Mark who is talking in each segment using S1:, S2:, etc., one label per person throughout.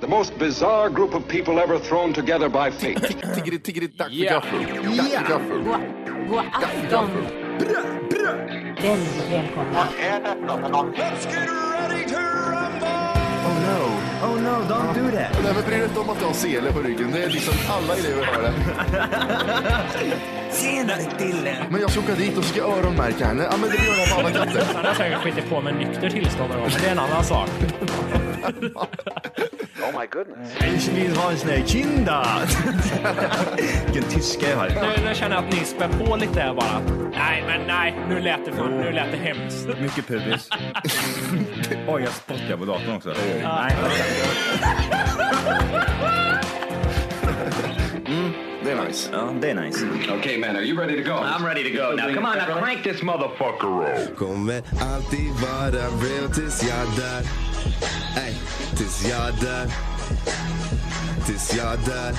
S1: The most bizarre group of people ever thrown together by fate.
S2: Tiggeri, tiggeri, dack för
S3: Yeah.
S2: gaffel. Dack för gaffel.
S4: God, god afton. Väldigt välkomna.
S5: Oh no, oh no, don't do that.
S2: Nej, men bry dig inte om att du har sele på ryggen. Det är liksom alla elever har det.
S5: Tjenare Dille!
S2: Men jag ska åka dit och ska öronmärka henne. Ja, men det gör jag på alla katter.
S6: Han har säkert skitit på med nykter tillstånd någon gång, men det är en annan sak.
S5: Ich vill ha en sån här kinda! Vilken tyska jag har.
S6: Nu, nu känner jag att ni spär på lite där bara. Nej, men nej, nu lät det, för, nu lät det hemskt.
S5: Mycket pubis. Oj, jag spottar på datorn också. Nej,
S2: Det är nice.
S5: ja, Mm, det är nice.
S1: okay, man, are you ready to go? I'm ready.
S7: Kommer alltid vara real tills jag dör. Ey, tills jag dör. Tills jag dör.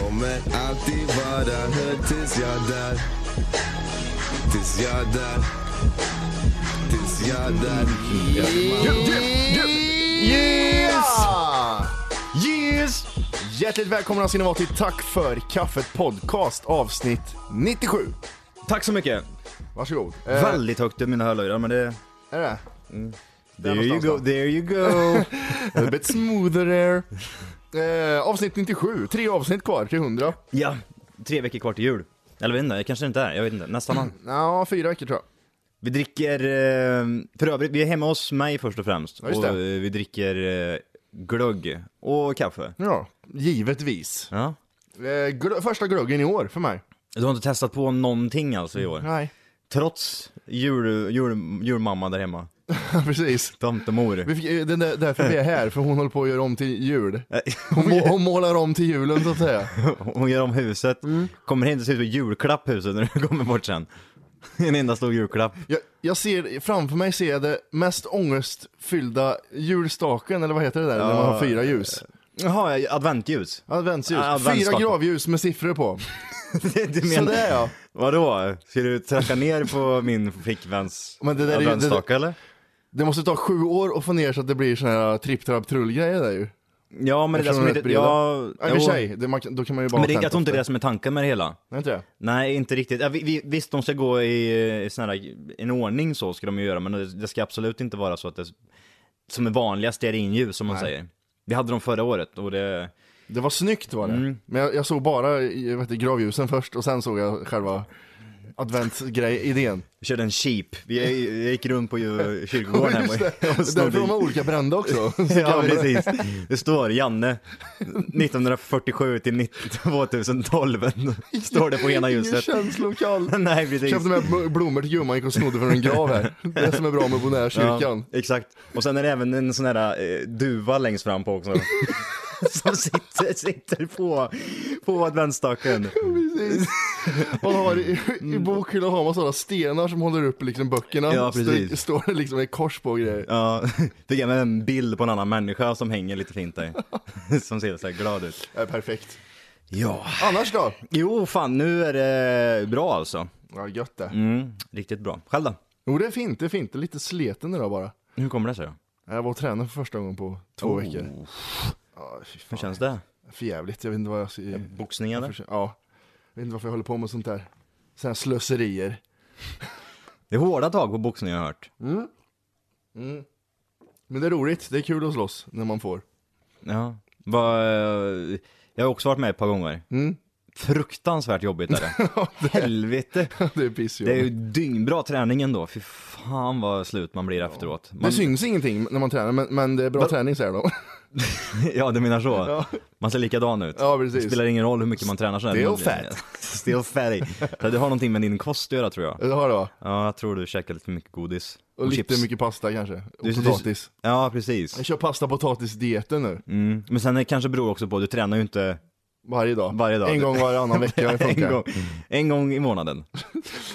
S7: Kommer alltid vara hood tills jag dör. Tills jag dör. Tills jag dör.
S2: Yes! Yes! Hjärtligt välkomna ska ni vara till Tack för kaffet podcast avsnitt 97.
S5: Tack så mycket.
S2: Varsågod. Eh,
S5: Väldigt högt i mina hörlurar, men det...
S2: Är det?
S5: There you
S2: någonstans
S5: go,
S2: då.
S5: there you go.
S2: A little bit smoother there. Eh, avsnitt 97, tre avsnitt kvar till 100.
S5: ja, tre veckor kvar till jul. Eller jag vet inte, jag kanske inte är, jag vet inte. Nästan man.
S2: Ja, fyra veckor tror jag.
S5: Vi dricker, eh, för övrigt, vi är hemma hos mig först och främst.
S2: Ja, just
S5: och
S2: det.
S5: eh, vi dricker eh, glögg och kaffe.
S2: Ja, givetvis.
S5: Ja.
S2: Eh, gl- första glöggen i år för mig.
S5: Du har inte testat på någonting alltså i år?
S2: Nej.
S5: Trots jul, jul, julmamma där hemma?
S2: Precis.
S5: Tomtemor?
S2: Vi fick, eh, den där, därför vi är här, för hon håller på att göra om till jul. Hon, må, hon målar om till julen så att säga.
S5: Hon gör om huset,
S2: Mm.
S5: kommer hem och ser ut som julklapp huset när du kommer bort sen. En enda stor julklapp.
S2: Jag, jag ser, framför mig ser jag det mest ångestfyllda julstaken, eller vad heter det där, när man har fyra ljus?
S5: Jaha, ja, adventljus?
S2: Adventsljus.
S5: Ja,
S2: fyra
S5: adventsstaken.
S2: gravljus med siffror på.
S5: Du
S2: Så
S5: menar,
S2: det är jag.
S5: Vadå? Ska du tracka ner på min flickväns
S2: Men det där är ju-
S5: adventsstake
S2: det-
S5: eller?
S2: Det måste ta sju år att få ner så att det blir såna här tripp trapp trull grejer där ju.
S5: Ja men det där
S2: Eftersom de
S5: som
S2: är
S5: inte...
S2: rätt breda.
S5: Ja,
S2: Ja, i och för sig, det, man, kan- då kan man ju bara
S5: Men det, jag
S2: tänka
S5: tror inte det
S2: efter.
S5: är det som är tanken med det hela.
S2: Nej, inte det.
S5: Nej, inte riktigt. Ja, vi, vi, visst, de ska gå i, i sån här, en ordning så ska de ju göra, men det, det ska absolut inte vara så att det, som är vanliga stearinljus som man säger. Vi hade dem förra året och det,
S2: Det var snyggt var det.
S5: Mm.
S2: Men jag, jag såg bara i- vet, du, gravljusen först och sen såg jag själva adventsgrej-idén.
S5: vi körde en sheep. Vi jag gick runt på ju- kyrkogården hemma och
S2: Därför de har
S5: snodde.
S2: olika brända också.
S5: Ja precis, det står Janne 1947 till 19 2012 Står det på ena
S2: Ingen
S5: ljuset
S2: känslokall.
S5: Nej precis
S2: Köpte med bl- blommor till gumman, gick och snodde från en grav här. Det som är bra med Bonärkyrkan.
S5: Ja, exakt. Och sen är det även en sån här eh, duva längst fram på också. som sitter, sitter på, på adventsstaken.
S2: Man har i, i bokhyllan har man sådana stenar som håller upp liksom böckerna.
S5: Mm. Ja, precis.
S2: Står- Står det liksom ett kors på och grejer.
S5: Ja, fick även en bild på en annan människa som hänger lite fint där. som ser så här glad ut.
S2: Ja, Äh, perfekt.
S5: Ja.
S2: Annars då?
S5: Jo, fan nu är det bra alltså.
S2: Ja, gött det.
S5: Mm, riktigt bra. Själv då?
S2: Jo, det är fint, det är fint. Det är lite sleten idag bara.
S5: Hur kommer det sig då?
S2: Jag var och tränade för första gången på två
S5: Oh.
S2: veckor. Ja, fy
S5: Hur
S2: fan.
S5: känns det?
S2: För jävligt. Jag vet inte vad jag ska...
S5: Boxning eller?
S2: Ja. Jag vet inte varför jag håller på med sånt där. Såna här slöserier.
S5: Det är hårda tag på boxning har jag hört.
S2: Men det är roligt, det är kul att slåss när man får.
S5: Ja. Va, eh, jag har också varit med ett par gånger. Fruktansvärt jobbigt är det. Helvete.
S2: Det är pissjobb.
S5: Det är ju dyngbra träning ändå. Fy fan vad slut man blir efteråt. Man,
S2: Det syns ingenting när man tränar, men, men det är bra träning säger de.
S5: ja, du menar så. Man ser likadan ut.
S2: Ja, precis.
S5: Det spelar ingen roll hur mycket man tränar sådär.
S2: Still
S5: Men-
S2: fat.
S5: Still fatty. Så det har någonting med din kost att göra tror jag.
S2: Det har det va?
S5: Ja, jag tror du käkar lite för mycket godis.
S2: Och, lite mycket pasta kanske. Och
S5: Du- du-
S2: potatis.
S5: Ja, precis.
S2: Jag kör pasta potatis-dieten nu.
S5: Mm. Men sen det kanske beror också på, du tränar ju inte
S2: Varje dag.
S5: Varje dag.
S2: En gång varannan vecka. Det
S5: en
S2: funkar. Mm.
S5: gång, en gång i månaden.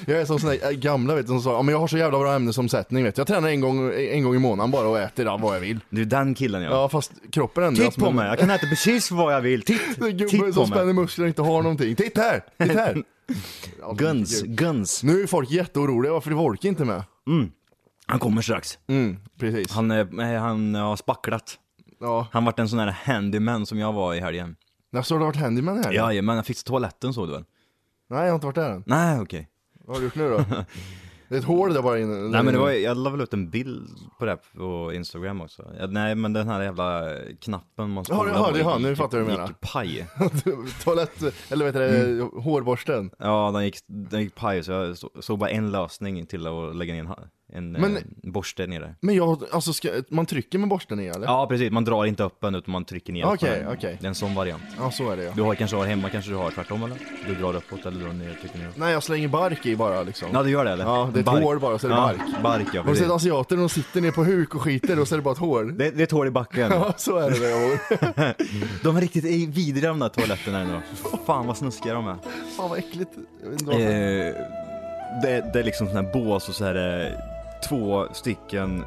S2: Jag är som sådana där äh, gamla vet du, som sa ja, men jag har så jävla bra ämnesomsättning. Vet du. Jag tränar en gång, en gång i månaden bara och äter ja, vad jag vill.
S5: Du är den killen jag.
S2: Ja, fast kroppen ändras.
S5: Titt på
S2: men-
S5: mig, jag kan äta precis vad jag vill. Titt,
S2: Det är gubben
S5: titt
S2: som
S5: på
S2: spänner
S5: mig.
S2: muskler och inte har någonting. Titta här! Titta här! Ja, det är
S5: Guns,
S2: kul.
S5: guns.
S2: Nu är folk jätteoroliga varför de orkar inte med.
S5: Han kommer strax.
S2: Mm, precis.
S5: Han, eh, han har spacklat.
S2: Ja.
S5: Han vart en sån här handyman som jag var i helgen.
S2: När har du varit handyman här?
S5: Ja, men han fixade toaletten såg du väl?
S2: Nej, jag har inte varit där än.
S5: Nej, okej.
S2: Vad har du gjort nu då? Det är ett hål där bara inne.
S5: Nej men det var, jag la väl ut en bild på det här på Instagram också. Ja, nej men den här jävla knappen man
S2: Ja, det
S5: scrollar på
S2: hör- det hör,
S5: gick-
S2: nu fattar jag vad du
S5: gick- Gick paj.
S2: Toalett, eller vad heter det,
S5: Mm.
S2: hårborsten.
S5: Ja, den gick, den gick paj så jag så- såg bara en lösning till att lägga ner en, ha- en,
S2: Men-
S5: eh, borste nere.
S2: Men jag, alltså ska, man trycker med borsten i eller?
S5: Ja precis, man drar inte upp den utan man trycker ner
S2: Okej,
S5: den.
S2: okej.
S5: Det är en sån variant.
S2: Ja, så är det ja.
S5: Du har kanske har hemma, kanske du har tvärtom eller? Du drar uppåt eller drar ner, trycker ner.
S2: Nej, jag slänger bark i bara liksom.
S5: Ja du gör det eller?
S2: Ja, det är ett
S5: Bark.
S2: hål bara, så är det bark.
S5: Ja, bark ja,
S2: Har du
S5: precis.
S2: sett asiater de sitter ner på huk och skiter och så är det bara ett hål?
S5: Det, det är ett hål i backen.
S2: Ja, så är det. med hår.
S5: De är riktigt i- vidriga de där toaletterna ändå. Fan vad snuskiga de är.
S2: Fan vad äckligt. Jag vet inte varför.
S5: Eh, det, det är liksom sån här bås och så är det två stycken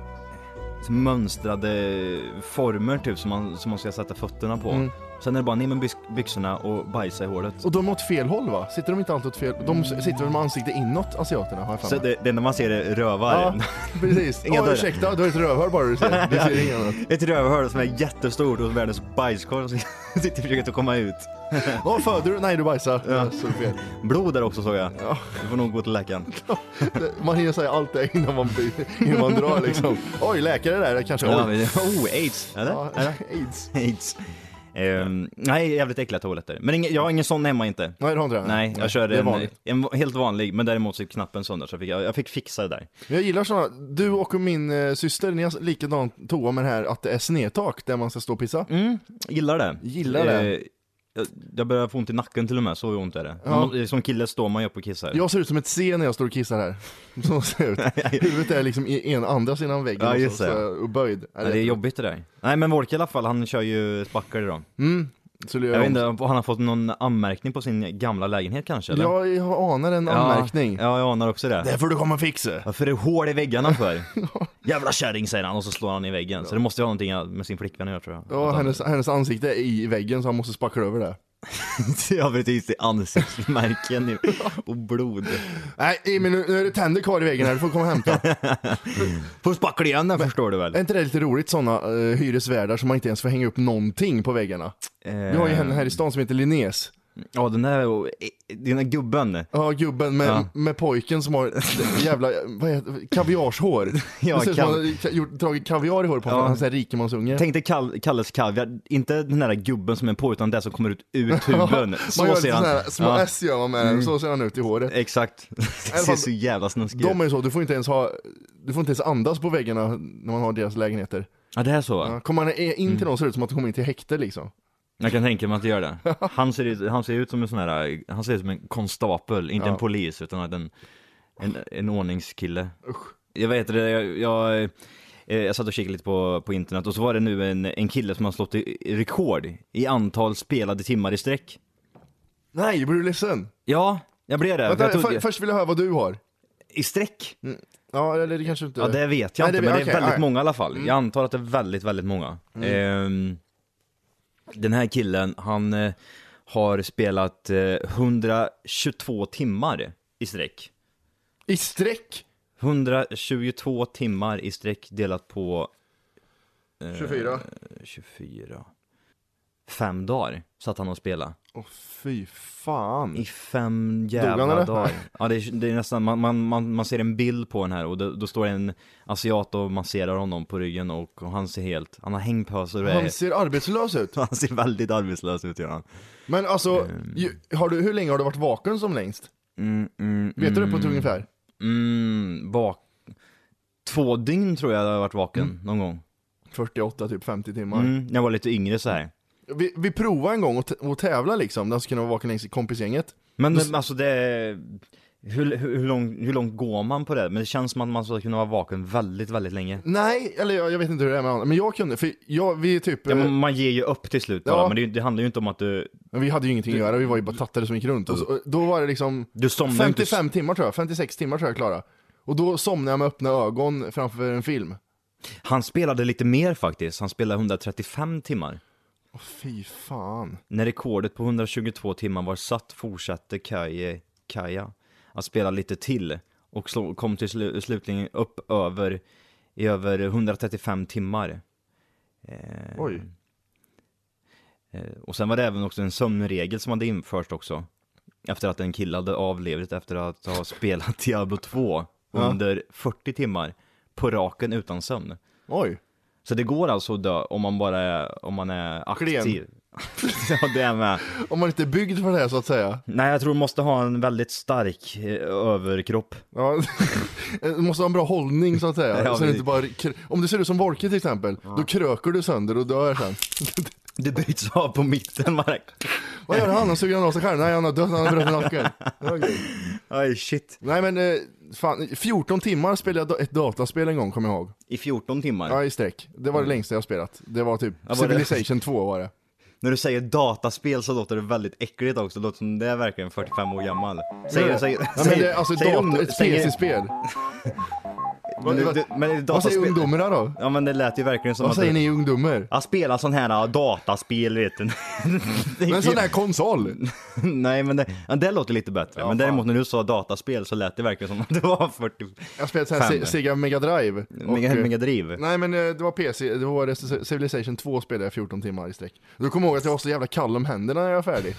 S5: mönstrade former typ som man, som man ska sätta fötterna på. Sen är det bara ner med byx- byxorna och bajsa i hålet.
S2: Och de är åt fel håll va? Sitter de inte alltid åt fel De sitter väl med ansiktet inåt, asiaterna har jag
S5: Så
S2: för mig.
S5: det, det enda man ser är
S2: Ja,
S5: rövar.
S2: precis.
S5: Inga
S2: Ja,
S5: dörrar.
S2: ursäkta, du har ett rövhål bara du ser. Du ser inget annat.
S5: Ett rövhål som är jättestort och världens bajskorv som sitter och försöker att komma ut.
S2: Ja, föder du? Nej, du bajsar. Ja. Så är det fel.
S5: Blod där också såg jag. Du får nog gå till läkaren.
S2: Man hinner säga allt det innan man, innan man drar liksom. Oj, läkare där, det kanske.
S5: Ja,
S2: Oj.
S5: men- oh, aids! Eller?
S2: Ja,
S5: Eller?
S2: aids.
S5: Aids. Ehm, nej, jävligt äckliga toaletter. Men ingen, jag har ingen sån hemma inte.
S2: Nej, det har inte det.
S5: Nej, jag körde
S2: det är
S5: en,
S2: vanligt.
S5: en helt vanlig, men däremot så gick knappen sönder så jag fick, jag, jag fick fixa det där.
S2: Men jag gillar sådana, du och min eh, syster, ni har likadan toa med det här att det är snedtak där man ska stå och pissa.
S5: Mm. Gillar det.
S2: Gillar det.
S5: Eh, jag, jag börjar få ont i nacken till och med, så ont är det.
S2: Ja.
S5: Man, som kille står man ju upp och kissar.
S2: Jag ser ut som ett C när jag står och kissar här. Så ser jag ut. Huvudet är liksom i en andra sidan väggen
S5: Ja,
S2: och,
S5: just
S2: så,
S5: det.
S2: så, och böjd.
S5: Nej, det är jobbigt det där. Nej men Wolke i alla fall, han kör ju spackar idag.
S2: Så det gör
S5: Jag vet
S2: ont.
S5: inte, om han har fått någon anmärkning på sin gamla lägenhet kanske eller?
S2: Ja, jag anar en
S5: Ja,
S2: anmärkning.
S5: Ja, jag anar också det.
S2: Det får du komma och fixa.
S5: Varför är det hål i väggarna för? Jävla kärring säger han och så slår han i väggen. Så det måste ju ha någonting med sin flickvän att göra tror jag. Att
S2: Ja,
S5: han-
S2: hennes, hennes ansikte är i väggen så han måste spackla över det.
S5: Ja precis, det är ansiktsmärken ju. och blod.
S2: Nej, Emil, nu, nu är det tänder kvar i väggen här, du får komma och hämta.
S5: Får spackla igen den förstår du väl?
S2: är inte det lite roligt sådana uh, hyresvärdar som man inte ens får hänga upp någonting på väggarna? Vi
S5: Eh.
S2: har ju henne här i stan som heter Linnés.
S5: Ja den där, eh, den där gubben.
S2: Ja, gubben med,
S5: Ja.
S2: med pojken som har jävla, vad heter kaviarshår.
S5: Ja,
S2: det ser ut som
S5: kav-
S2: han har ka- gjort, dragit kaviar i håret på honom,
S5: Ja.
S2: han är en sån här rikemansunge.
S5: Tänk dig Kall- Kalles kaviar, inte den där gubben som är på utan den som kommer ut ur tuben.
S2: man
S5: Så
S2: gör
S5: ser
S2: lite
S5: han.
S2: sån här, små
S5: Ja, Mm.
S2: S gör man med den, så ser han ut i håret.
S5: Exakt. Det ser
S2: fall-
S5: så jävla snuskigt
S2: De
S5: ut.
S2: är ju så, du får inte ens ha, du får inte ens andas på väggarna när man har deras lägenheter.
S5: Ja det är så va?
S2: Ja, Kommer man in
S5: Mm.
S2: till någon ser det ut som att du kommer in till häkte liksom.
S5: Jag kan tänka mig att det gör det. Han ser, ut- han ser ut som en sån här, han ser ut som en konstapel, inte en polis utan att en, en, en ordningskille. Jag vet det, jag, jag, eh, jag satt och kikade lite på, på internet och så var det nu en, en kille som har slått i- i rekord i antal spelade timmar i sträck.
S2: Nej, blir du ledsen?
S5: Ja, jag blev det.
S2: Vänta,
S5: jag tog,
S2: för, först vill jag höra vad du har.
S5: I sträck?
S2: Ja, eller det kanske inte...
S5: Ja det vet jag
S2: Nej,
S5: inte men det är
S2: okej, Mm.
S5: väldigt
S2: nej.
S5: många i alla fall. Jag antar att det är väldigt, väldigt många.
S2: Mm.
S5: Ehm, den här killen, han eh, har spelat eh, 122 timmar i sträck.
S2: I sträck!
S5: 122 timmar i sträck delat på Eh.
S2: 24.
S5: 24. Fem dagar satt han och spelade.
S2: Åh fy fan.
S5: I fem
S2: Mm. han,
S5: jävla
S2: eller?
S5: dagar. Ja, det, är, det är nästan, man, man, man, man ser en bild på den här och då, då står det en asiat och masserar honom på ryggen och, och han ser helt, han har hängpösar och är,
S2: Han ser arbetslös ut.
S5: han ser väldigt arbetslös ut gör han.
S2: Men alltså,
S5: Ehm.
S2: ju, har du, hur länge har du varit vaken som längst? Vet du det på ett ungefär?
S5: Mm, bak... Två dygn tror jag jag har varit vaken
S2: Mm.
S5: någon gång.
S2: 48, typ 50 timmar.
S5: Mm, när jag var lite yngre så här.
S2: Vi, vi provade en gång att t- att tävla liksom, den som kunde vara vaken längst i kompisgänget.
S5: Men men, alltså det, hur, hur, hur, lång, hur långt går man på det? Men det känns som att man ska kunna vara vaken väldigt, väldigt länge.
S2: Nej, eller jag, jag vet inte hur det är med andra, men jag kunde, för jag, vi typ,
S5: Ja,
S2: eh,
S5: men man ger ju upp till slut bara,
S2: Ja.
S5: men det, är ju- det handlar ju inte om att du,
S2: men vi hade ju ingenting att göra, vi var ju bara tattare som gick runt. Och så, och då var det liksom
S5: du somnar ju inte
S2: 55 timmar tror jag, 56 timmar tror jag klara. Och då somnade jag med öppna ögon framför en film.
S5: Han spelade lite mer faktiskt, han spelade 135 timmar.
S2: Åh fy fan.
S5: När rekordet på 122 timmar var satt fortsatte Kaje, Kaja att spela lite till och slå, kom till slu, slutligen upp över, i över 135 timmar. Eh,
S2: Oj.
S5: Eh, och sen var det även också en sömnregel som hade införts också. Efter att en kille hade avlevt efter att ha spelat Diablo 2 under 40 timmar på raken utan sömn.
S2: Oj.
S5: Så det går alltså att dö om man bara är, om man är
S2: Klen.
S5: aktiv. ja, det är med.
S2: Om man inte är byggd för det här så att säga.
S5: Nej, jag tror du måste ha en väldigt stark eh, överkropp.
S2: Ja. Du måste ha en bra hållning så att säga.
S5: Ja,
S2: så det
S5: men-
S2: inte bara... kr- Om du ser ut som Wolke till exempel, då kröker du sönder och dör sen.
S5: Det bryts av på mitten. Man...
S2: Vad gör han? Han suger han av sig själv? Nej, han har dött, han har brutit nacken. Okej.
S5: Aj, shit.
S2: Nej men, eh, fan, 14 timmar spelade jag da- ett dataspel en gång kommer jag ihåg.
S5: I 14 timmar.
S2: Ja, i sträck. Det var det längsta jag spelat. Det var typ
S5: Mm. Ja, var det-
S2: Civilization 2 var det.
S5: När du säger dataspel så låter det väldigt äckligt också. Det låter som det är verkligen 45 år gammal. Säger, säger,
S2: Ja, men det, alltså
S5: säger
S2: data,
S5: ungdom-
S2: ett
S5: säger-
S2: PC-spel.
S5: Men, det- det- men det är
S2: Vad säger
S5: dataspel-
S2: ungdomarna då?
S5: Ja men det lät ju verkligen som
S2: Vad
S5: att...
S2: säger
S5: du-
S2: ni ungdomar?
S5: Jag spelar sån här ah, dataspel vet du. Det är
S2: Men
S5: ju-
S2: sån där konsol!
S5: Nej men det, ja, det låter lite bättre. men däremot när du sa dataspel så lät det verkligen som att det var 40...
S2: Jag spelade sån här
S5: Fem.
S2: Se- Sega Mega Drive. Och,
S5: Mega,
S2: eh,
S5: mega driv.
S2: Nej men eh, det var PC, det var Rest- Civilization 2 spelade jag 14 timmar i sträck. Då kommer jag ihåg att jag var så jävla kall om händerna när jag var färdig.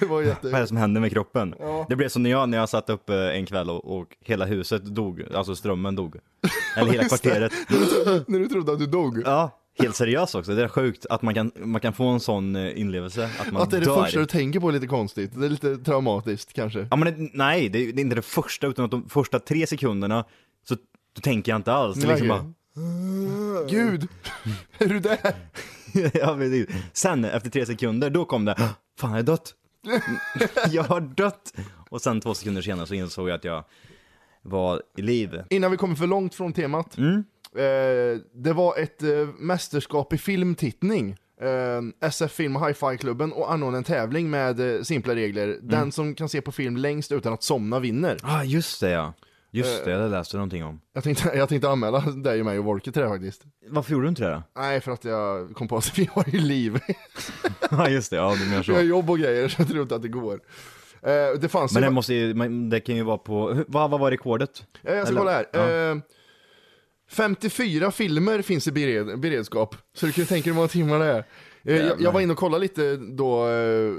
S2: det var
S5: Vad är
S2: jätte...
S5: det som händer med kroppen? Det blev som när jag, när jag satt upp eh, en kväll och, och hela huset dog, alltså strömmen dog. Eller hela kvarteret.
S2: när du trodde att du dog.
S5: Ja, helt seriöst också. Det är sjukt att man kan, man kan få en sån eh, inlevelse, att man
S2: Att det är det
S5: dör.
S2: första du tänker på är lite konstigt. Det är lite traumatiskt kanske.
S5: Ja, men det, nej, det, är- det är inte det första, utan att de första tre sekunderna så då tänker jag inte alls. Det är liksom
S2: Nej.
S5: bara,
S2: Gud! är du där?
S5: jag vet inte. Sen, efter tre sekunder, då kom det, fan jag har dött. jag har dött. Och sen två sekunder senare så insåg jag att jag var i liv. Mm.
S2: Innan vi kommer för långt från temat. Eh, det var ett eh, mästerskap i filmtittning. Eh, SF Film och Hi-Fi-klubben och anordnade en tävling med eh, simpla regler.
S5: Mm.
S2: Den som kan se på film längst utan att somna vinner.
S5: Ja, ah, just det ja.
S2: Eh.
S5: Just det, det läste jag någonting om.
S2: Jag tänkte, jag tänkte anmäla dig, mig och Volker till det här faktiskt.
S5: Varför gjorde du inte det då?
S2: Nej, för att jag kom på att vi har ju liv.
S5: Ja, just det, ja du menar
S2: Vi har
S5: så.
S2: jobb och grejer, så jag tror inte att det går. Eh, det fanns
S5: Men
S2: ju-
S5: det måste ju, men det kan ju vara på, hur- vad, vad var rekordet?
S2: Ja, jag ska
S5: Eller-
S2: kolla här.
S5: Ja.
S2: Eh, 54 filmer finns i bered beredskap, så du kan ju tänka dig hur många timmar det är. Eh, jag, jag var inne och kollade lite då eh,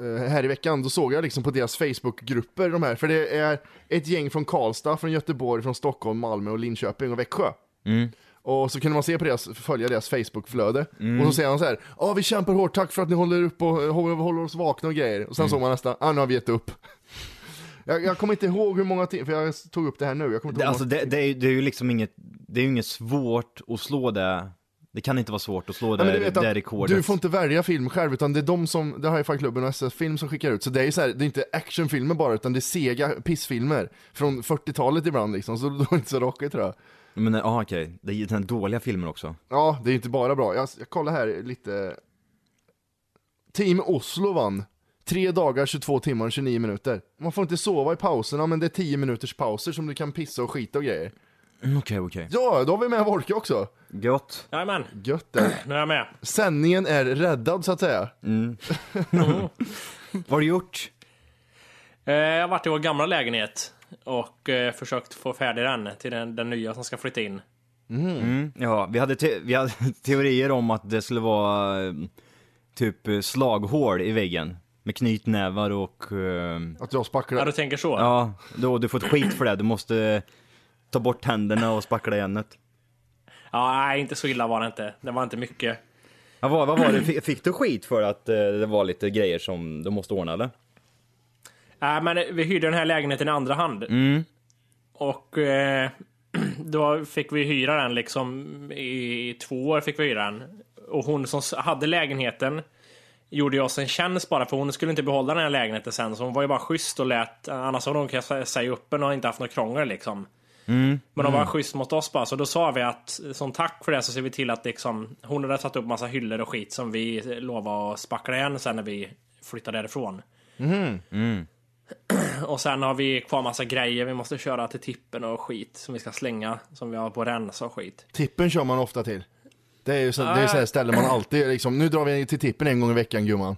S2: eh, här i veckan, då såg jag liksom på deras Facebookgrupper de här, för det är ett gäng från Karlstad, från Göteborg, från Stockholm, Malmö och Linköping och Växjö. Och så kunde man se på deras, följa deras Facebookflöde.
S5: Mm.
S2: Och så säger han så här, ja vi kämpar hårt, tack för att ni håller upp och håller, håller oss vakna och grejer.
S5: Mm.
S2: Och sen såg man nästa, ja nu har vi gett upp. Jag, jag kommer inte ihåg hur många timmar, för jag tog upp det här nu, jag kommer inte
S5: Det,
S2: ihåg.
S5: alltså det, det, är, ju- det är ju liksom inget, det är ju inget svårt att slå det. Det kan inte vara svårt att slå
S2: Ja,
S5: det,
S2: men du vet
S5: det
S2: att
S5: rekordet.
S2: du får inte välja film själv, utan det är de som, det är Hi-Fi-klubben och SF-film som skickar ut. Så det är ju så här, det är inte actionfilmer bara, utan det är sega pissfilmer. Från 40-talet ibland liksom, så då är det inte så rockigt tror jag.
S5: Men ja, okej. Det är ju den här dåliga filmen också.
S2: Ja, det är ju inte bara bra. Jag, jag kollar här lite. Team Oslo vann. Tre dagar, 22 timmar och 29 minuter. Man får inte sova i pauserna, men det är 10 minuters pauser som du kan pissa och skita och grejer.
S5: Mm, Okej, okej.
S2: Ja, då har vi med Wolke också.
S5: Gött.
S6: Jajamän,
S2: Gött där.
S6: nu är jag med.
S2: Sändningen är räddad så att säga.
S5: Vad har du gjort?
S6: Eh, Jag har varit i vår gamla lägenhet och eh, försökt få färdig den till den, den nya som ska flytta in.
S5: Ja, vi hade, te- vi hade teorier om att det skulle vara eh, typ eh, slaghål i väggen. Med knytnävar och... eh,
S2: Att jag
S6: Ja,
S2: spacklar.
S6: du tänker så?
S5: Ja, då, du får ett skit för det. Du måste eh, ta bort tänderna och spackla igen det.
S6: Ja, nej, inte så illa var det inte. Det var inte mycket.
S5: Ja, vad, vad var det? Fick- Fick du skit för att eh, det var lite grejer som du måste ordna eller?
S6: Nej, Äh, men eh, vi hyrde den här lägenheten i andra hand. Och eh, då fick vi hyra den liksom i två år fick vi hyra den. Och hon som s- hade lägenheten gjorde ju oss en tjänst bara för hon skulle inte behålla den här lägenheten sen. Så hon var ju bara schysst och lät, annars hade hon kunnat sä- säga upp en och inte haft något krångel liksom. Men de var schysst mot oss bara, så då sa vi att som tack för det så ser vi till att liksom, hon hade satt upp massa hyllor och skit som vi lovade att spackla igen sen när vi flyttade därifrån. Och sen har vi kvar massa grejer vi måste köra till tippen och skit som vi ska slänga, som vi har på rens och skit.
S2: Tippen kör man ofta till. Det är ju så, det är ju så här ställen man alltid liksom, nu drar vi till tippen en gång i veckan gumman.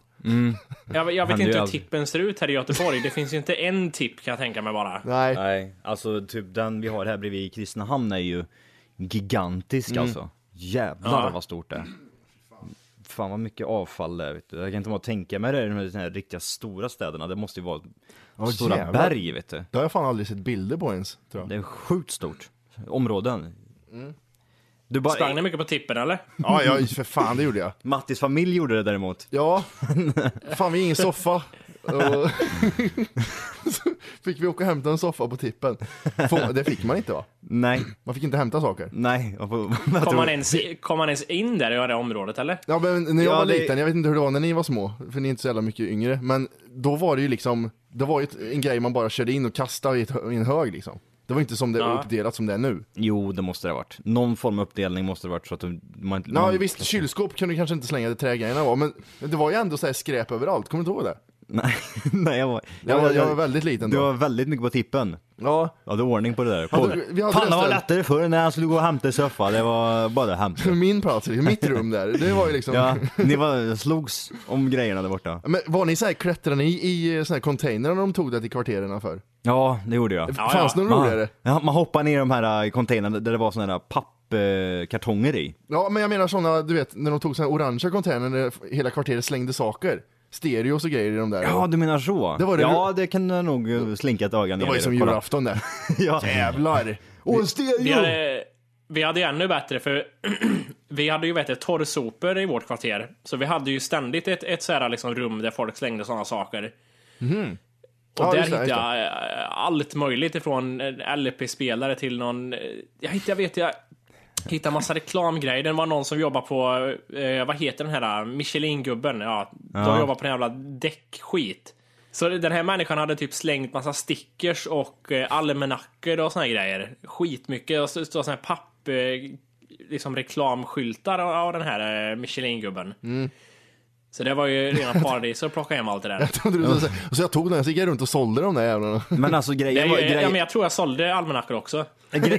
S6: Jag, jag vet
S5: Händer ju
S6: inte hur
S5: aldrig.
S6: tippen ser ut här i Göteborg, det finns ju inte en tipp kan jag tänka mig bara.
S2: Nej. Mm.
S5: Nej, alltså typ den vi har här bredvid Kristinehamn är ju gigantisk alltså. Jävlar
S6: Ja.
S5: vad stort det är. Fan vad mycket avfall det är. vet du. Jag kan inte bara tänka mig det i de här- de här riktiga stora städerna. Det måste ju vara stora
S2: jävlar.
S5: berg vet du.
S2: Det har jag fan aldrig sett bilder på ens, tror jag.
S5: Det är sjukt stort. Områden.
S2: Mm.
S5: Du bara,
S6: Sprang ni mycket på tippen eller?
S2: Ja, ja, för fan det gjorde jag.
S5: Mattis familj gjorde det däremot.
S2: Ja, fan vi har ingen soffa. Och så fick vi åka och hämta en soffa på tippen. Få- Det fick man inte va?
S5: Nej,
S2: Man fick inte hämta saker.
S5: nej. Jag får- jag
S6: Kom
S5: tror-
S6: man, ens, kom man ens in där i det området eller?
S2: Ja men när jag
S5: Ja,
S2: var
S5: det-
S2: liten, jag vet inte hur det var när ni var små, för ni är inte så jävla mycket yngre. Men då var det ju liksom, det var ju ett- en grej man bara körde in och kastade i, ett, hö- i en hög liksom. Det var inte som det
S6: Ja.
S2: uppdelat som det är nu.
S5: Jo, det måste det ha varit. Någon form av uppdelning måste det ha varit så att du- man inte...
S2: Ja
S5: man-
S2: visst, kylskåp kunde du kanske inte slänga där trägrejerna var, men det var ju ändå så här skräp överallt, kommer du inte ihåg det?
S5: Nej, nej jag var...
S2: Jag, var- jag var väldigt liten
S5: Du
S2: då.
S5: var väldigt mycket på tippen.
S2: Ja,
S5: Jag hade ordning på det där.
S2: Hade
S5: På,
S2: du- vi hade
S5: Fan det var
S2: resten.
S5: lättare förr när han skulle gå och hämta soffa. Det var bara att hämta.
S2: min plats, liksom, mitt rum där, det var ju liksom
S5: Ja, ni var, slogs om grejerna där borta.
S2: Men var ni såhär, klättrade ni i eh, såna här containrar när de tog det till kvarteren för?
S5: Ja, det gjorde jag.
S6: Ja,
S2: Fanns det
S6: ja.
S2: något
S5: Man,
S2: roligare?
S5: ja, man hoppade ner i de här eh, containrarna där det var såna här pappkartonger i.
S2: Ja men jag menar såna, du vet, när de tog såna här orangea containrar där hela kvarteret slängde saker. Stereos och grejer i de där.
S5: Ja, du menar så?
S2: Det var det-
S5: ja, det kan jag nog eh, slinka ett öga ner
S2: det var ju
S5: i
S2: som
S5: och kolla.
S2: julafton där.
S5: Ja.
S2: Jävlar!
S5: Åh, en
S6: Vi
S5: stereo!
S6: hade, vi hade ju ännu bättre för vi hade ju vet du, torrsopor i vårt kvarter. Så vi hade ju ständigt ett, ett så här liksom rum där folk slängde sådana saker. Och
S2: Ja,
S6: där
S2: just det, just
S6: hittade jag eh, allt möjligt ifrån eh, LP-spelare till någon... eh, Jag hittade, jag vet jag, hittade massa reklamgrejer. Det var någon som jobbar på, eh, vad heter den här, Michelin-gubben? Ja,
S5: Ja.
S6: De jobbar på den jävla däckskit. Så den här människan hade typ slängt massa stickers och eh, almanackor och såna här grejer. Skitmycket. Och så så såna här papp... eh, Liksom reklamskyltar av av den här eh, Michelin-gubben.
S2: Mm.
S6: Så det var ju rena paradis att plocka hem allt det där.
S2: Jag trodde du skulle säga- och så jag tog den, så gick jag runt och sålde de där jävlarna.
S5: Men alltså
S6: Jag,
S5: grejen var,
S6: jag, ja,
S5: grejen,
S6: men jag tror jag sålde almanackor också. det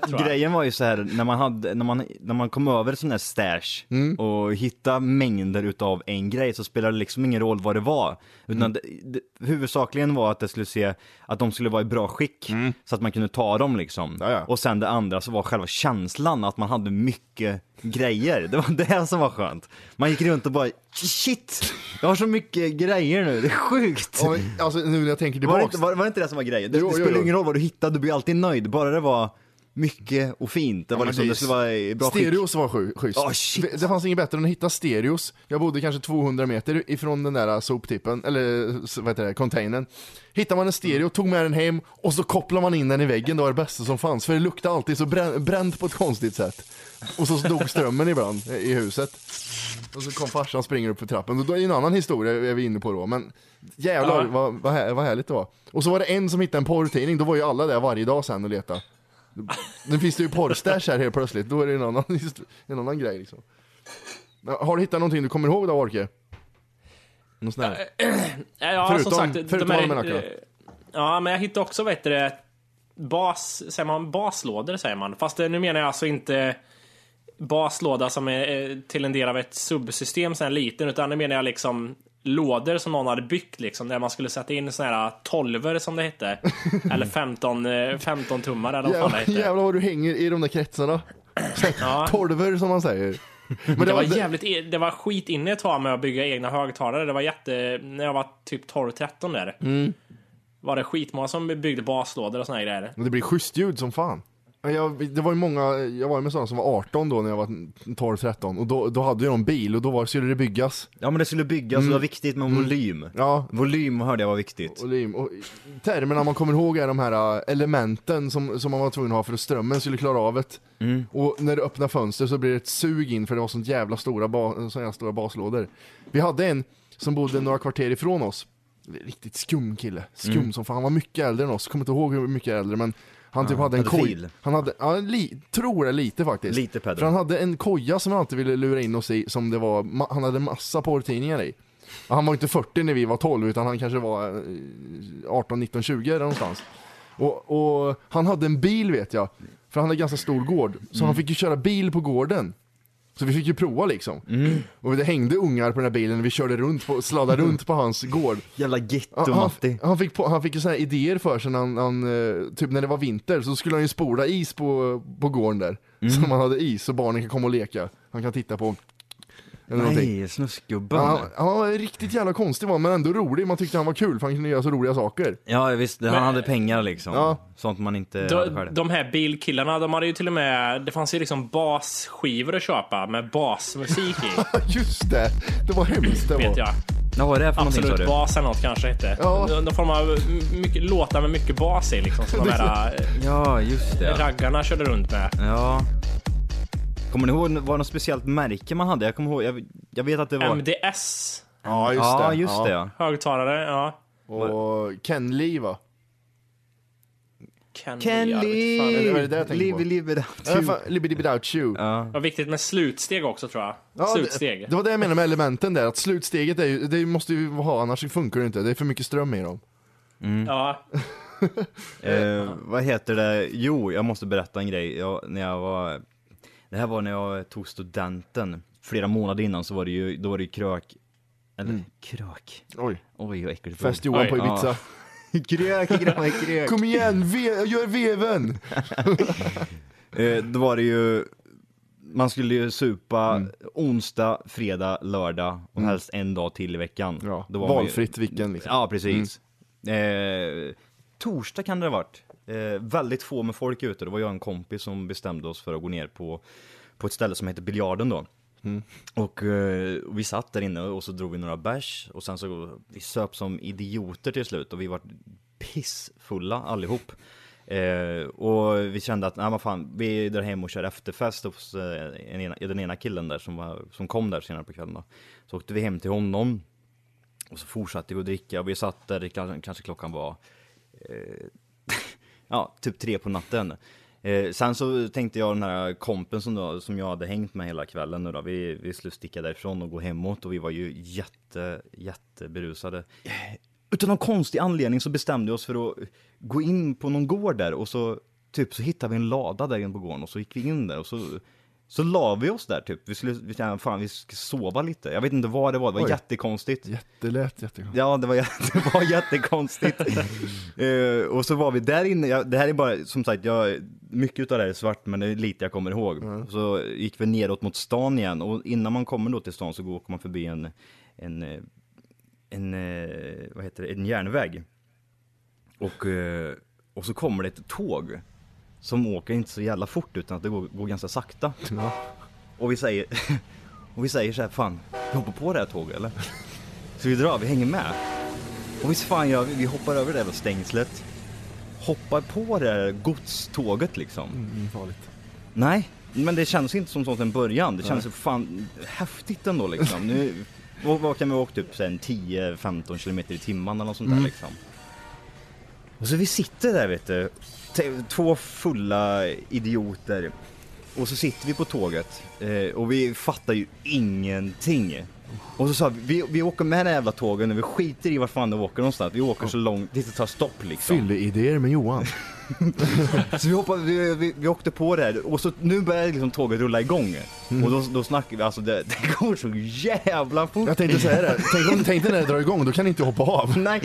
S6: tror jag.
S5: grejen var ju så här när man, hade, när man, när man kom över sån här stash
S2: Mm.
S5: och hittade mängder utav en grej så spelade det liksom ingen roll vad det var. Utan
S2: Mm.
S5: det, det, huvudsakligen var att det skulle se, att de skulle vara i bra skick så att man kunde ta dem liksom.
S2: Mm. Ja, ja.
S5: Och sen det andra så var själva känslan att man hade mycket grejer. Det var det som var skönt. Man gick runt och bara shit, jag har så mycket grejer nu, det är sjukt.
S2: Och, alltså nu när jag tänker
S5: Var
S2: tillbaks.
S5: det, inte, var, var det inte det som var grejen? Det,
S2: Jo,
S5: det
S2: jo,
S5: spelar
S2: jo.
S5: ingen roll vad du hittade, du blir alltid nöjd. Bara det var mycket och fint. Det, var
S2: men
S5: liksom,
S2: det
S5: det,
S2: är
S5: skulle vara i bra skick.
S2: Stereos var sju- schysst.
S5: Ah, shit.
S2: det fanns inget bättre än att hitta stereos. Jag bodde kanske 200 meter ifrån den där soptippen, eller s- vad heter det, containern. Hittade man en
S5: Mm.
S2: stereo, tog med den hem och så kopplade man in den i väggen, det var det bästa som fanns. För det luktade alltid så brä- bränt på ett konstigt sätt. Och så dog strömmen ibland eh, i huset. Och så kom farsan och springer upp för trappen. Och då är det en annan historia är vi inne på då, men jävlar
S6: Ja.
S2: vad, vad, här, vad härligt det var. Och så var det en som hittade en porrtidning, då var ju alla där varje dag sen och letade. Nu finns det ju porrstash här helt plötsligt, då är det en annan, hist- en annan grej liksom. Ja, Har du hittat någonting du kommer ihåg då Orke? Någon sån här?
S6: Ja, ja,
S2: Förutom-
S6: som sagt,
S2: förutom
S6: de
S2: almanackorna.
S6: är, Ja, men jag hittade också vad heter det, bas, säger man, baslådor, säger man. Fast eh, nu menar jag alltså inte baslåda som är eh, till en del av ett subsystem, sen liten, utan nu menar jag liksom lådor som någon hade byggt liksom, där man skulle sätta in såna här tolver som det hette. Eller 15, eh, 15 tummar eller vad fan
S2: Jävlar,
S6: det hette.
S2: jävlar vad du hänger i de där kretsarna.
S6: Ja.
S2: Torver som man säger. Men det,
S6: Det var
S2: det-
S6: jävligt, e- det var skit inne ett tag med att bygga egna högtalare. Det var jätte, när jag var typ 12-13 där.
S2: Mm.
S6: Var det skitmånga som byggde baslådor och såna här grejer.
S2: Men det blir schysst ljud som fan. Men Jag, det var ju många, jag var ju med sådana som var 18 då när jag var 12-13 och då, då hade ju de bil och då var, skulle det byggas.
S5: Ja men det skulle byggas och det var viktigt med volym.
S2: Ja,
S5: Volym hörde jag var viktigt.
S2: Mm. Och lim. Och termerna man kommer ihåg är de här äh, elementen som, som man var tvungen att ha för att strömmen skulle klara av det. Och när du öppnar fönster så blir det ett sug in för det var sånt jävla stora, ba, sån jävla stora baslådor. Vi hade en som bodde några kvarter ifrån oss. Riktigt skum kille. Skum som fan. Han var mycket äldre än oss. Kommer inte ihåg hur mycket äldre men han typ hade en
S5: pedofil.
S2: koja. Han hade, ja, li, tror det lite faktiskt.
S5: Lite pedo.
S2: För han hade en koja som han alltid ville lura in oss i som det var, ma- han hade massa porrtidningar i. Ja, Han var inte 40 när vi var 12 utan han kanske var eh, 18, 19, 20 där någonstans. Och, och han hade en bil vet jag, för han hade ganska stor gård. Så han fick ju köra bil på gården. Så vi fick ju prova liksom. Och det hängde ungar på den här bilen, vi körde runt, på, sladdade runt på hans gård.
S5: Jävla
S2: Ja,
S5: getto
S2: han,
S5: Matti.
S2: han fick, på, han fick ju såna här idéer för sig när han, han, eh, typ när det var vinter så skulle han ju spola is på, på gården där. Så man hade is så barnen kan komma och leka. Han kan titta på. Eller någonting.
S5: Nej, snuskgubben.
S2: Han, han var riktigt jävla konstig var han, men ändå rolig. Man tyckte han var kul för han kunde göra så roliga saker.
S5: Ja visst, han hade pengar liksom.
S2: Ja.
S5: Sånt man inte hade
S6: De,
S5: själv.
S6: de här bilkillarna, de hade ju till och med... Det fanns ju liksom basskivor att köpa med basmusik i,
S2: Just det, det var hemskt det
S6: vet
S2: var.
S6: jag.
S5: Vad var det här för någonting sa
S6: Absolut
S5: du?
S6: bas eller något kanske hette.
S2: Ja.
S6: Någon form av m- mycket, låtar med mycket bas i liksom, som de här eh,
S5: Ja, just det.
S6: raggarna körde runt med.
S5: Ja. Kommer ni ihåg, var det något speciellt märke man hade? Jag kommer ihåg, jag, jag vet att det var...
S6: MDS,
S2: Ja just
S5: ja,
S2: det.
S5: just det ja.
S6: högtalare, ja.
S2: Och Ken Lee va?
S6: Kenny, jag vet inte fan.
S5: Kenny!
S2: det var det där jag tänkte på.
S5: live it up
S2: Äh, fan, Libidi Without You.
S5: Ja.
S6: Vad viktigt med slutsteg också tror jag.
S2: Ja,
S6: slutsteg.
S2: Det, det var det jag menade med elementen där, att slutsteget är ju, det måste ju ha, annars funkar det inte. Det är för mycket ström i dem.
S6: Ja,
S5: Mm. Eh, vad heter det? Jo, jag måste berätta en grej. Jag, när jag var, det här var när jag tog studenten. Flera månader innan så var det ju, då var det ju krök. Eller
S2: Mm.
S5: krök.
S2: Oj.
S5: Oj, vad äckligt.
S2: Fest Johan
S6: Oj,
S2: på Ibiza.
S5: ja. krök, grabbar, krök.
S2: Kom igen, ve- gör veven!
S5: Eh, då var det ju, man skulle ju supa
S2: Mm.
S5: onsdag, fredag, lördag och helst en dag till i veckan. Då var man ju-
S2: Valfritt vilken liksom.
S5: Ja, precis. Eh, torsdag kan det ha varit. Eh, väldigt få med folk ute. Det var jag och en kompis som bestämde oss för att gå ner på, på ett ställe som heter Biljarden då. Och eh, och vi satt där inne och så drog vi några bärs och sen så vi söp som idioter till slut och vi var pissfulla allihop. Eh, och vi kände att, nej vad fan, vi drar hem och kör efterfest hos eh, en ena, den ena killen där som, var, som kom där senare på kvällen då. Så åkte vi hem till honom och så fortsatte vi att dricka och vi satt där, kanske- kanske klockan var eh, ja, typ tre på natten. Eh, sen så tänkte jag den här kompen som, då, som jag hade hängt med hela kvällen nu då, vi, vi skulle sticka därifrån och gå hemåt och vi var ju jätte, jätteberusade. Utan någon konstig anledning så bestämde vi oss för att gå in på någon gård där och så typ så hittade vi en lada där inne på gården och så gick vi in där och så så la vi oss där typ, vi skulle, vi, tänkte, fan vi ska sova lite. Jag vet inte vad det var, det var
S2: Oj.
S5: jättekonstigt.
S2: Jättelätt, jättekonstigt.
S5: Ja, det var, jä- det var jättekonstigt. Eh, och så var vi där inne, jag, det här är bara, som sagt, jag, mycket av det här är svart men det är lite jag kommer ihåg. Så gick vi neråt mot stan igen och innan man kommer då till stan så går- åker man förbi en, en, eh, en, eh, vad heter det, en järnväg. Och, eh, och så kommer det ett tåg som åker inte så jävla fort utan att det går, går ganska sakta. Och vi säger, och vi säger så här, fan, vi hoppar på det här tåget eller? Så vi drar, vi hänger med. Och visst fan gör vi, vi hoppar över det där stängslet. Hoppar på det där godståget liksom.
S2: mm, farligt.
S5: Nej, men det känns inte som sånt en början. Det känns fan häftigt ändå liksom. Nu, vad, vad kan vi åka typ sen 10-15 kilometer i timmen eller något sånt där liksom. Och så vi sitter där vet du, t- två fulla idioter. Och så sitter vi på tåget eh, och vi fattar ju ingenting. Och så sa vi, vi, vi åker med det här jävla tågen och vi skiter i vart fan det åker någonstans. Vi åker så långt, tills det tar stopp liksom.
S2: Fylleidéer med Johan.
S5: Så vi, hoppade, vi, vi, vi åkte på det här och så nu börjar liksom tåget rulla igång.
S2: Mm.
S5: Och då, då snackar vi, alltså det, det går så jävla fort.
S2: Jag tänkte säga det, tänk om tänk dig när det drar igång, då kan ni inte hoppa av.
S5: Nej,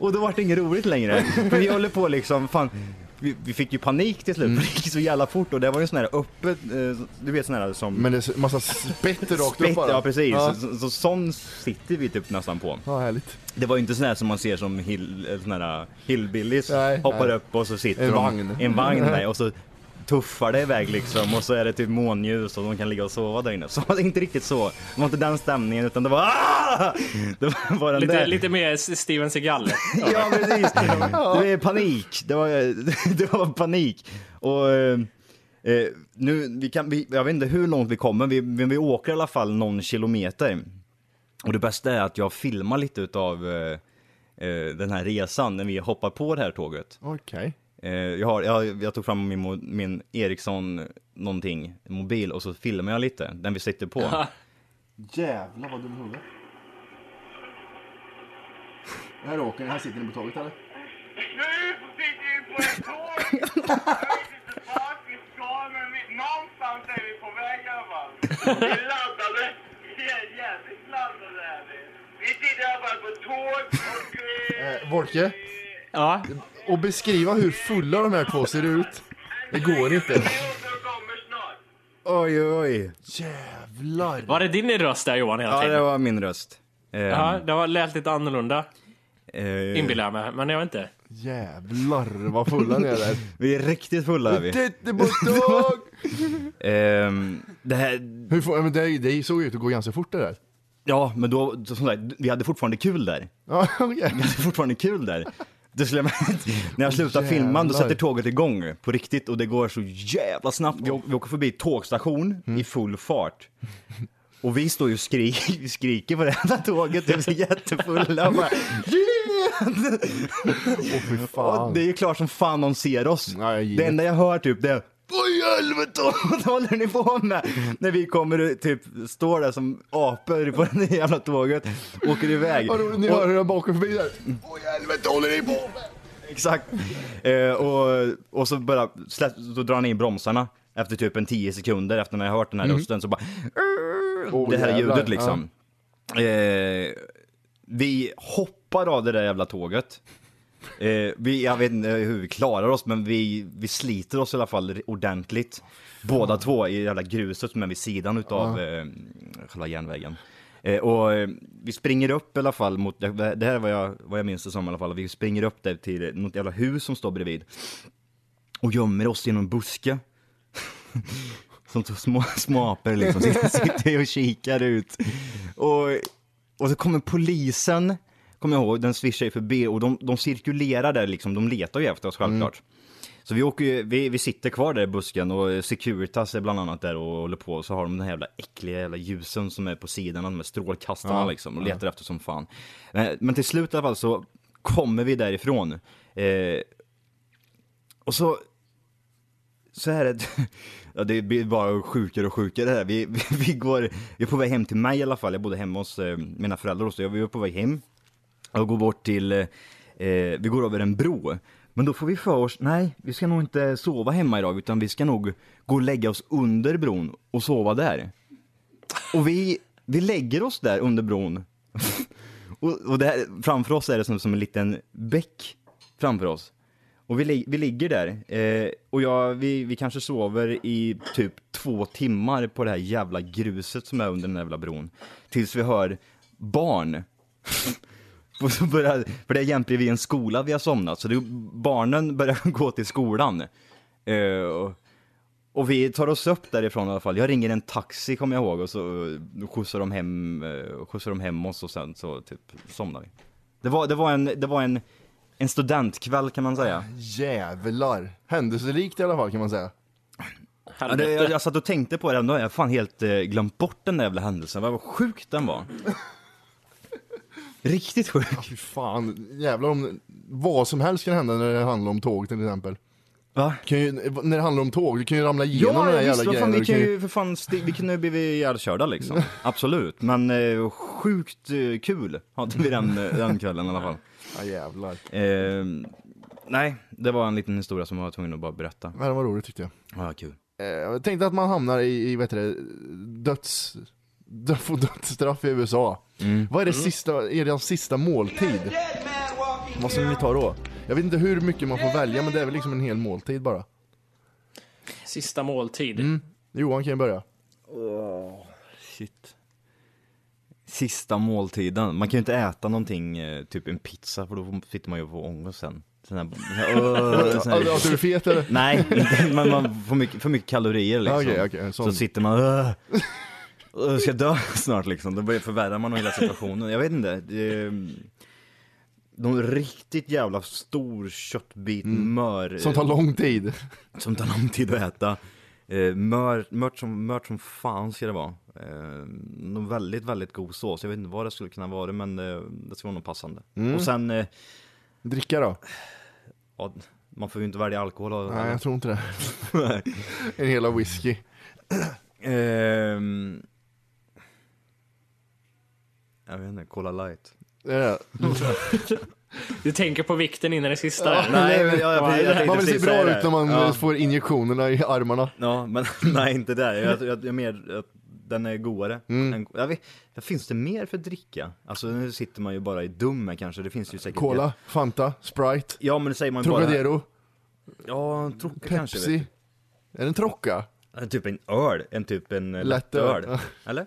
S5: och då var det inget roligt längre. För vi håller på liksom, fan. Vi, vi fick ju panik till slut,
S2: Mm.
S5: för det gick så jävla fort och det var ju sån här öppet, eh, du vet sån här som...
S2: Men det är så- massa spett rakt upp
S5: Spett,
S2: bara.
S5: ja precis.
S2: Ja.
S5: Så, så, så sån sitter vi typ nästan på.
S2: Ja, härligt.
S5: Det var ju inte sån här som man ser som hill, eh, sån här hillbillies
S2: Nej,
S5: hoppar
S2: nej.
S5: upp och så sitter
S2: En
S5: de,
S2: vagn.
S5: en vagn nej, och så tuffar det iväg liksom och så är det typ månljus och de kan ligga och sova där inne. Så det var inte riktigt så. Det var inte den stämningen utan det var "Ah!" Det var bara den
S6: lite,
S5: där.
S6: lite mer S- Steven Seagal.
S5: Ja precis. Det var panik. Det var, det var panik. Och eh, eh, nu, vi kan, vi, jag vet inte hur långt vi kommer, vi, men vi åker i alla fall någon kilometer. Och det bästa är att jag filmar lite utav eh, eh, den här resan när vi hoppar på det här tåget.
S2: Okej.
S5: Eh, jag, har, jag, jag tog fram min, mo- min Ericsson någonting, mobil, och så filmar jag lite, den vi sitter på.
S2: Jävlar vad dum huvud. Här åker ni, här sitter ni på tåget eller?
S3: Nu sitter vi på ett tåg. Jag vet inte vart vi ska, men vi, någonstans Någonstans är vi på väg i alla fall. Vi laddade. Jä- Jävligt laddade är vi. Vi sitter i alla fall på tåg och... Eh,
S2: Eh, Volke,
S6: Ja.
S2: och beskriva hur fulla de här två ser ut. Det går inte.
S3: vi åker och kommer snart.
S5: Oj, oj.
S2: Jävlar.
S6: Var det din röst där Johan hela
S5: Ja,
S6: tiden?
S5: det var min röst. Ehm,
S6: Ja, det var lät lite annorlunda
S5: eh,
S6: inbillar jag mig, men jag vet inte.
S2: Jävlar vad fulla ni är där.
S5: vi är riktigt fulla är vi.
S2: Titta på dag!
S5: Ehm, det här,
S2: Hur får, ja, men det, det såg ut att gå ganska fort det där.
S5: ja, men då, som sagt, vi hade fortfarande kul där.
S2: Ja, okej.
S5: Det är fortfarande kul där. Det skulle jag, när jag slutar filma då
S2: jävlar.
S5: sätter tåget igång på riktigt och det går så jävla snabbt. Vi, å- vi åker förbi tågstation i full fart. Och vi står ju och skri- skriker på det här tåget, vi är så jättefulla. Och bara, yeah!
S2: Åh fy
S5: och
S2: fan.
S5: det är ju klart som fan någon ser oss.
S2: Nej, givet.
S5: det enda jag hör typ det är Vad i helvete vad håller ni på med? När vi kommer och typ står där som apor på det här jävla tåget, åker iväg.
S2: Vad roligt, ni
S5: Och-
S2: hör hur jag bakar förbi där. Mm. Åh helvete håller ni på med?
S5: Exakt. Eh, och, och så bara släpp, så drar han in bromsarna efter typ en 10 sekunder efter när jag hört den här rösten så bara
S2: Mm. Åh,
S5: det här
S2: jävlar.
S5: ljudet liksom. Eh, vi hoppar av det där jävla tåget. Eh, vi, jag vet inte hur vi klarar oss men vi, vi sliter oss i alla fall ordentligt. Båda två i det jävla gruset som är vid sidan utav eh, själva järnvägen. Eh, och eh, vi springer upp i alla fall mot, det här är vad jag, vad jag minns det som i alla fall, vi springer upp där till något jävla hus som står bredvid. Och gömmer oss i någon buske. Som så små, små apor liksom, sitter, sitter och kikar ut. Och, och så kommer polisen, kommer jag ihåg, den svischar ju förbi och de, de cirkulerar där liksom, de letar ju efter oss självklart. Så vi, åker ju, vi, vi sitter kvar där i busken och Securitas är bland annat där och håller på och så har de den här jävla äckliga jävla ljusen som är på sidorna, de här strålkastarna liksom och letar efter som fan. Men, men till slut i alla fall så kommer vi därifrån. Eh, och så så här är det, ja, det blir bara sjukare och sjukare här. Vi, vi, vi går, vi är på väg hem till mig i alla fall, jag bodde hemma hos eh, mina föräldrar och så, vi var på väg hem. Jag går bort till, eh, vi går över en bro. Men då får vi för oss, nej vi ska nog inte sova hemma idag utan vi ska nog gå och lägga oss under bron och sova där. Och vi, vi lägger oss där under bron. och och det här, framför oss är det som, som en liten bäck framför oss. Och vi, li- vi ligger där eh, och jag, vi, vi kanske sover i typ två timmar på det här jävla gruset som är under den här jävla bron. Tills vi hör barn. och så börjar, för det är jämt bredvid en skola vi har somnat så det, barnen börjar gå till skolan. Eh, och, och vi tar oss upp därifrån i alla fall. Jag ringer en taxi kommer jag ihåg och så eh, skjutsar de hem, eh, skjutsar de hem oss och sen så typ somnar vi. Det var, det var, en, det var en, en studentkväll kan man säga.
S2: Jävlar. Händelserikt i alla fall kan man säga.
S5: Ja, det, jag, jag satt och tänkte på det, nu har jag fan helt eh, glömt bort den där jävla händelsen, vad sjuk den var. Riktigt sjuk.
S2: Fy fan. Jävlar om vad som helst kan hända när det handlar om tåg till exempel.
S5: Va?
S2: Kan ju, när det handlar om tåg, du kan ju ramla igenom den
S5: Ja,
S2: här
S5: ja
S2: jävla
S5: visst, vad
S2: grejen.
S5: fan,
S2: och
S5: vi
S2: du
S5: kan ju för fan, sti- vi kunde ju blivit ihjälkörda liksom. Absolut, men eh, sjukt eh, kul hade vi den, eh, den kvällen i alla fall.
S2: Ja, jävlar.
S5: Eh, nej, det var en liten historia som jag var tvungen att bara berätta.
S2: Ja, Det var roligt tyckte jag.
S5: Ja, kul.
S2: Eh, Jag tänkte att man hamnar i, i vad heter det, döds... Döf och dödsstraff i USA. Vad är det sista, är det sista måltid? Vad ska vi ta då? Jag vet inte hur mycket man får välja, men det är väl liksom en hel måltid bara.
S6: Sista måltid.
S2: Johan kan ju börja.
S5: Shit. Sista måltiden. Man kan ju inte äta någonting, eh, typ en pizza, för då sitter man ju på ångest sen. Sån här, sån här, öh, sån
S2: Alltså,
S5: här,
S2: att du är fet eller?
S5: nej, inte, men man får mycket, för mycket kalorier liksom.
S2: Okej, okej, sån.
S5: Så sitter man öh, öh, ska dö snart liksom. Då börjar- förvärrar man nog hela situationen. Jag vet inte. Det, någon riktigt jävla stor köttbit mör.
S2: Som tar lång tid.
S5: Som tar lång tid att äta. Eh, mör, mört, som, mört som fan ska det vara. Eh, någon väldigt, väldigt god sås. Jag vet inte vad det skulle kunna vara men eh, det skulle vara något passande.
S2: Mm.
S5: Och sen, eh,
S2: Dricka då?
S5: ja, man får ju inte välja alkohol. och-
S2: Nej, jag tror inte det. En hela whisky.
S5: Ehm, jag vet inte, Cola light.
S2: Det är det.
S8: Du tänker på vikten innan det sista. där.
S5: Nej, men jag, jag, jag, tänkte
S2: Man vill se
S5: precis
S2: bra
S5: säga det.
S2: ut när man
S5: ja.
S2: eh, får injektionerna i armarna.
S5: ja, men nej inte där. Jag, jag, jag mer att den är godare.
S2: Mm.
S5: än- Jag vet, finns det mer för dricka? Alltså nu sitter man ju bara i dum här kanske. Det finns ju säkert.
S2: Cola, Fanta, Sprite,
S5: Ja, men det säger man ju bara.
S2: Trocadero,
S5: Ja, en troca kanske.
S2: Pepsi.
S5: vet
S2: Är det en Trocca?
S5: du. En Typ en öl, en typ en eh,
S2: Lättöl.
S5: lättöl. Eller?